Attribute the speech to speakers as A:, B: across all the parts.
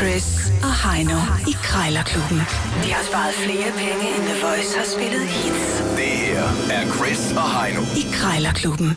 A: Chris og Heino i Krejlerklubben. De har sparet flere penge, end The Voice har spillet hits
B: Det her er Chris og Heino.
A: i Krejlerklubben.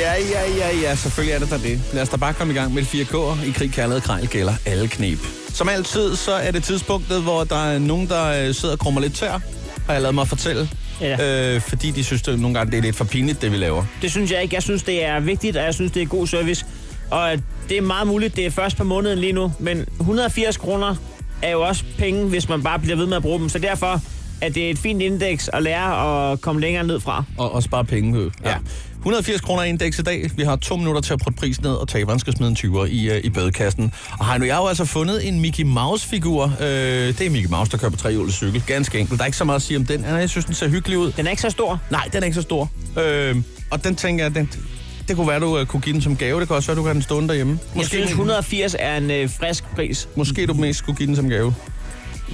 C: Ja, ja, ja, ja, selvfølgelig er det da det. Lad os da bare komme i gang med de 4K'er. I krig, kærlighed, krejl gælder alle knep. Som altid, så er det tidspunktet, hvor der er nogen, der øh, sidder og krummer lidt tør, har jeg lavet mig fortælle.
D: Ja.
C: Øh, fordi de synes, det nogle gange det er lidt for pinligt, det vi laver.
D: Det synes jeg ikke. Jeg synes, det er vigtigt, og jeg synes, det er god service. Og at det er meget muligt, det er først på måneden lige nu, men 180 kroner er jo også penge, hvis man bare bliver ved med at bruge dem. Så derfor er det et fint indeks at lære at komme længere ned fra.
C: Og, og spare penge Øh, på.
D: Ja.
C: 180 kroner i indeks i dag. Vi har to minutter til at putte prisen ned, og taberen skal smide en 20'er i, øh, i bødekassen. Og Heino, jeg har jo altså fundet en Mickey Mouse-figur. Øh, det er Mickey Mouse, der kører på trehjulet cykel. Ganske enkelt. Der er ikke så meget at sige om den. Jeg synes, den ser hyggelig ud.
D: Den er ikke så stor.
C: Nej, den er ikke så stor. Øh, og den tænker jeg, den, det kunne være, du øh, kunne give den som gave. Det kan også være, du kan have den stående derhjemme.
D: Jeg synes,
C: du-
D: 180 er en øh, frisk pris.
C: Måske du mest skulle give den som gave.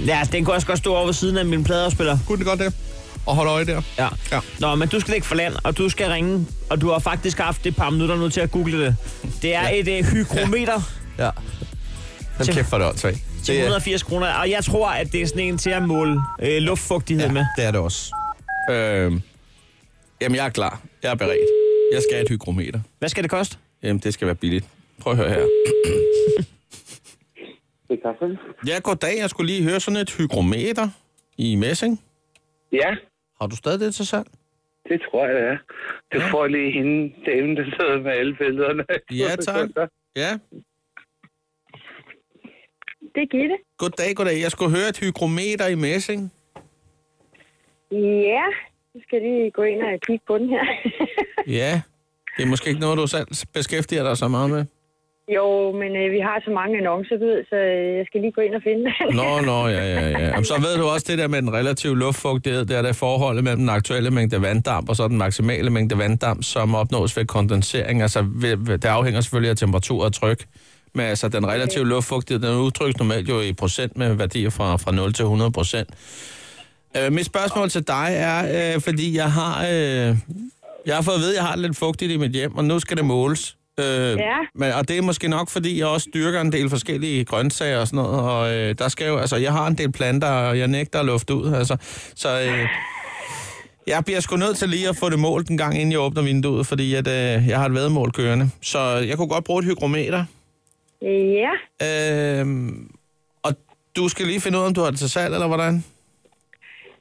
D: Ja, den kunne også godt stå over ved siden af min pladerspiller.
C: Kunne det godt det? Og hold øje der.
D: Ja.
C: Ja.
D: ja. Nå, men du skal ikke for land, og du skal ringe, og du har faktisk haft et par minutter nu til at google det. Det er ja. et øh, hygrometer.
C: Ja. Hold
D: Til-
C: kæft for det også,
D: til 180 kroner. Og jeg tror, at det er sådan en til at måle øh, luftfugtighed ja. med.
C: det er det også. Øh, jamen, jeg er klar. Jeg er beredt. Jeg skal have et hygrometer.
D: Hvad skal det koste?
C: Jamen, det skal være billigt. Prøv at høre her.
E: Det er kaffe.
C: Ja, goddag. Jeg skulle lige høre sådan et hygrometer i Messing.
E: Ja,
C: Har du stadig det til salg?
E: det tror jeg, det er. Det får lige hende, damen, der sidder med alle billederne.
C: Ja, tak. Ja.
F: Det er Gitte.
C: Goddag, goddag. Jeg skulle høre et hygrometer i Messing.
F: Ja, nu skal jeg lige gå ind og kigge på den her.
C: Ja, det er måske ikke noget, du selv beskæftiger dig så meget med.
F: jo, men øh, vi har så mange annoncer, du ved, så øh, jeg skal lige gå ind og finde den.
C: Nå, nå, ja, ja, ja. Jamen, Så ved du også det der med den relative luftfugtighed, det er det forholdet mellem den aktuelle mængde vanddamp og så den maksimale mængde vanddamp, som opnås ved kondensering. Altså, ved- ved- det afhænger selvfølgelig af temperatur og tryk. Men altså, den relative luftfugtighed, den udtrykkes normalt jo i procent med værdier fra, fra 0 til 100 procent. Øh, mit spørgsmål til dig er, øh, fordi jeg har, øh, jeg har fået at vide, at jeg har det lidt fugtigt i mit hjem, og nu skal det måles. Øh, ja. men, og det er måske nok, fordi jeg også dyrker en del forskellige grøntsager og sådan noget, og øh, der skal jo, altså, jeg har en del planter, og jeg nægter at lufte ud, altså, så øh, jeg bliver sgu nødt til lige at få det målt en gang, inden jeg åbner vinduet, fordi at, øh, jeg har et vedmål kørende. Så jeg kunne godt bruge et hygrometer.
F: ja,
C: Øh, og du skal lige finde ud af, om du har det til salg, eller hvordan?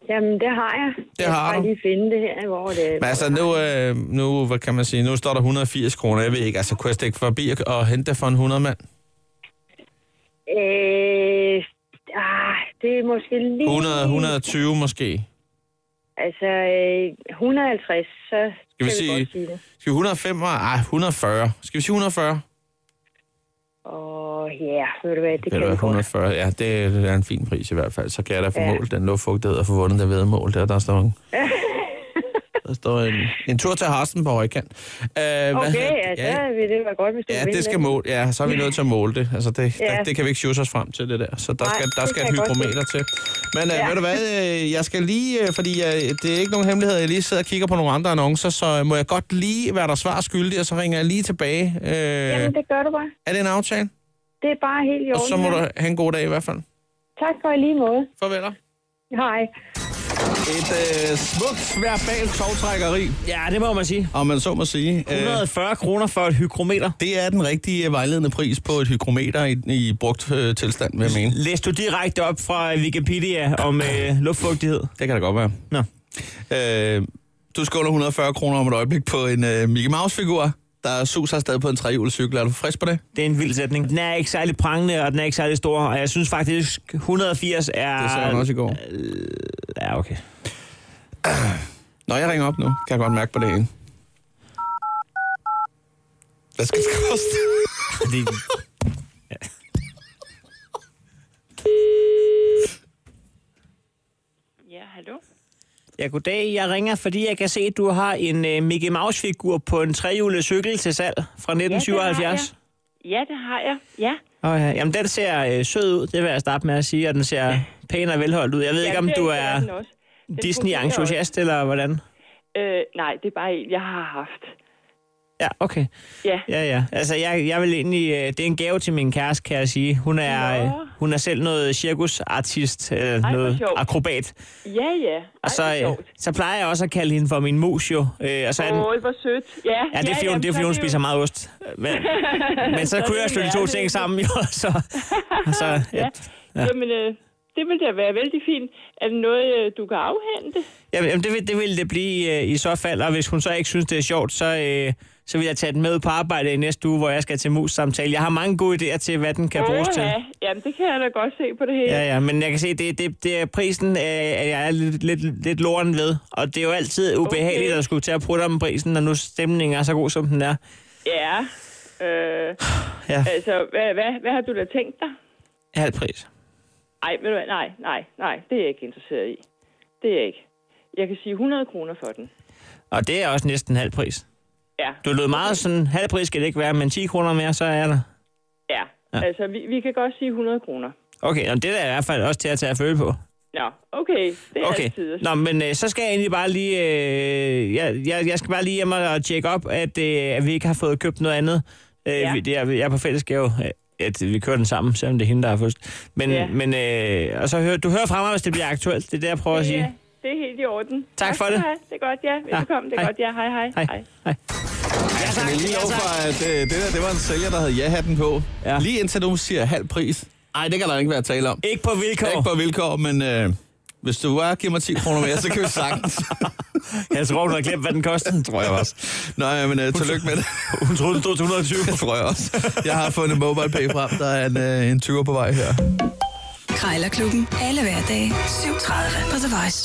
F: jamen det har jeg. jeg
C: har
F: skal
C: du.
F: lige finde det her, hvor det
C: Men altså, nu, øh, nu, hvad kan man sige, nu står der 180 kroner, jeg ved ikke, altså, kunne jeg stikke forbi og- og hente det for en 100 mand?
F: Øh, ah, det er måske lige...
C: 100, 120 måske.
F: Altså, øh, 150, så
C: Skal vi
F: kan
C: sige-
F: godt sige det.
C: Skal vi 105? Ej, 140. Skal vi sige 140?
F: Og ja, ved du hvad, det
C: Det
F: kan
C: er
F: vi godt.
C: 140, ja, det er en fin pris i hvert fald. Så kan jeg da få
F: Ja.
C: målt den luftfugtighed og få vundet det vedmål der. Der står en, der står en, en tur til Harsten på højkant. Uh, okay,
F: Okay, ja,
C: ja,
F: så vil det være godt, hvis du
C: ja,
F: vil
C: det skal måle. Ja, så er vi nødt til at måle det. Altså, det, ja.
F: Ja.
C: der, det kan vi ikke sjusse os frem til, det der. Så der
F: Nej,
C: skal, der
F: det
C: skal
F: kan
C: et
F: jeg godt
C: hygrometer til. Men uh, ja.
F: Ja.
C: ved du hvad, øh, jeg skal lige, øh, fordi uh, det er ikke nogen hemmelighed, jeg lige sidder og kigger på nogle andre annoncer, så øh, må jeg godt lige være der svar skyldig, og så ringer jeg lige tilbage. Uh,
F: Jamen, det gør du bare.
C: Er det en aftale?
F: Det er bare helt i
C: Og
F: orden.
C: så må du have en god dag i hvert fald.
F: Tak for i lige måde.
C: Farvel. dig.
F: Hej.
C: Et øh, smukt verbalt tovtrækkeri,
D: Ja, det må man sige.
C: om man så må sige. Øh,
D: 140 kroner for et hygrometer.
C: det er den rigtige øh, vejledende pris på et hygrometer i, i brugt øh, tilstand, vil jeg mene.
D: Læs du direkte op fra Wikipedia om øh, luftfugtighed.
C: Det kan det godt være.
D: Nå.
C: Øh, du skåler 140 kroner om et øjeblik på en øh, Mickey Mouse-figur, der suser afsted på en trehjulet cykel. Er du frisk på det?
D: Det er en vild sætning. Den er ikke særlig prangende, og den er ikke særlig stor. Og jeg synes faktisk, 180 er...
C: Det sagde hun også i går.
D: Ja, okay.
C: Når jeg ringer op nu, kan jeg godt mærke på det ene. Hvad skal det koste?
D: Fordi...
G: Ja, hallo?
D: Ja, goddag. Jeg ringer, fordi jeg kan se, at du har en øh, Mickey Mouse-figur på en trehjulet cykel til salg fra 1977.
G: Ja, det har jeg. Ja.
D: Oh, ja. Jamen, den ser øh, sød ud, det vil jeg starte med at sige, og den ser pæn og velholdt ud. Jeg ved ikke, om
G: Ja,
D: du
G: det
D: er
G: den også. Den fungerer
D: Disney-entusiast, eller hvordan?
G: også. Øh, nej, det er bare en, jeg har haft.
D: Ja, okay.
G: Ja.
D: Ja, ja. Altså, jeg, jeg vil egentlig... øh, Det er en gave til min kæreste, kan jeg sige. Hun er,
G: Nå.
D: øh, hun er selv noget cirkusartist, eller
G: hvor
D: noget
G: sjovt.
D: akrobat.
G: Ja, ja. Ej,
D: Og så,
G: hvor
D: øh,
G: sjovt.
D: så plejer jeg også at kalde hende for min mus, jo. Øh, og så er den,
G: Åh, hvor sødt. Ja,
D: ja, det er fordi, hun, det er, fordi, hun spiser meget ost. Men, men så
G: Sådan
D: kunne jeg stille
G: er
D: to
G: det.
D: ting sammen, jo. Så, og så, ja.
G: Ja. Jamen, øh, det vil da være vældig fint. Er det noget, øh, du kan afhente?
D: Jamen, jamen, det, vil, det vil det blive øh, i så fald, og hvis hun så ikke synes, det er sjovt, så, øh, så vil jeg tage den med ud på arbejde i næste uge, hvor jeg skal til mus-samtale. Jeg har mange gode idéer til, hvad den kan bruges til.
G: Åh, ja. Jamen, det kan jeg da godt se på det hele.
D: Ja, ja, men jeg kan se, det, det, det er prisen, øh, at jeg er lidt, lidt, lidt loren ved. Og det er jo altid ubehageligt
G: Okay.
D: at skulle til at prutte om prisen, når nu stemningen er så god, som den er.
G: ja. Øh,
D: Ja,
G: altså, hvad, hvad, hvad har du da tænkt dig?
D: halv pris.
G: Ej, ved du hvad, nej, nej, nej, det er jeg ikke interesseret i. Det er jeg ikke. Jeg kan sige 100 kroner for den.
D: Og det er også næsten halv pris.
G: Ja,
D: Du lød meget sådan, halv pris skal det ikke være, men 10 kroner mere, så er jeg der.
G: ja.
D: Ja.
G: Altså, vi, vi kan godt sige 100 kroner.
D: Okay, og det er da i hvert fald også til at tage at føle på.
G: Nå, okay. Det er
D: Okay,
G: altid.
D: Nå, men øh, så skal jeg egentlig bare lige... Øh, jeg, jeg, jeg skal bare lige hjem og tjekke op, at, øh, at vi ikke har fået købt noget andet. Øh,
G: Ja.
D: vi, det er, jeg er på fællesgave, øh, at vi kører den sammen, selvom det er hende, der har først. Men,
G: Ja.
D: men øh, og så hører, du hører fra mig, hvis det bliver aktuelt. Det er det, jeg prøver at sige.
G: Ja, det er helt i orden.
D: Tak for
G: skal
D: det.
G: du have. Det er godt, ja. Velkommen, det er
D: hej.
G: godt, ja. Hej, hej.
D: Hej. Hej. Ja, tak.
C: Jeg vil lige
D: Ja,
C: lov
D: tak.
C: for, at øh, det der, det var en sælger, der havde ja-hatten på.
D: Ja.
C: Ja. Lige indtil du siger halv pris. Nej, det kan der ikke være tale om.
D: Ikke på vilkår.
C: Ikke på vilkår, men øh, hvis du bare giver mig 10 kroner mere, så kan vi sagtens.
D: Jeg tror, hun har glemt, hvad den kostede.
C: tror jeg også. Nå, ja, men øh, tillykke med det.
D: Hun troede, den stod til 120.
C: Det tror jeg også. Jeg har fundet MobilePay frem. Der er en, øh, en 20'er på vej her.
A: Krejlerklubben. Alle hverdage. 7.30 på The Voice.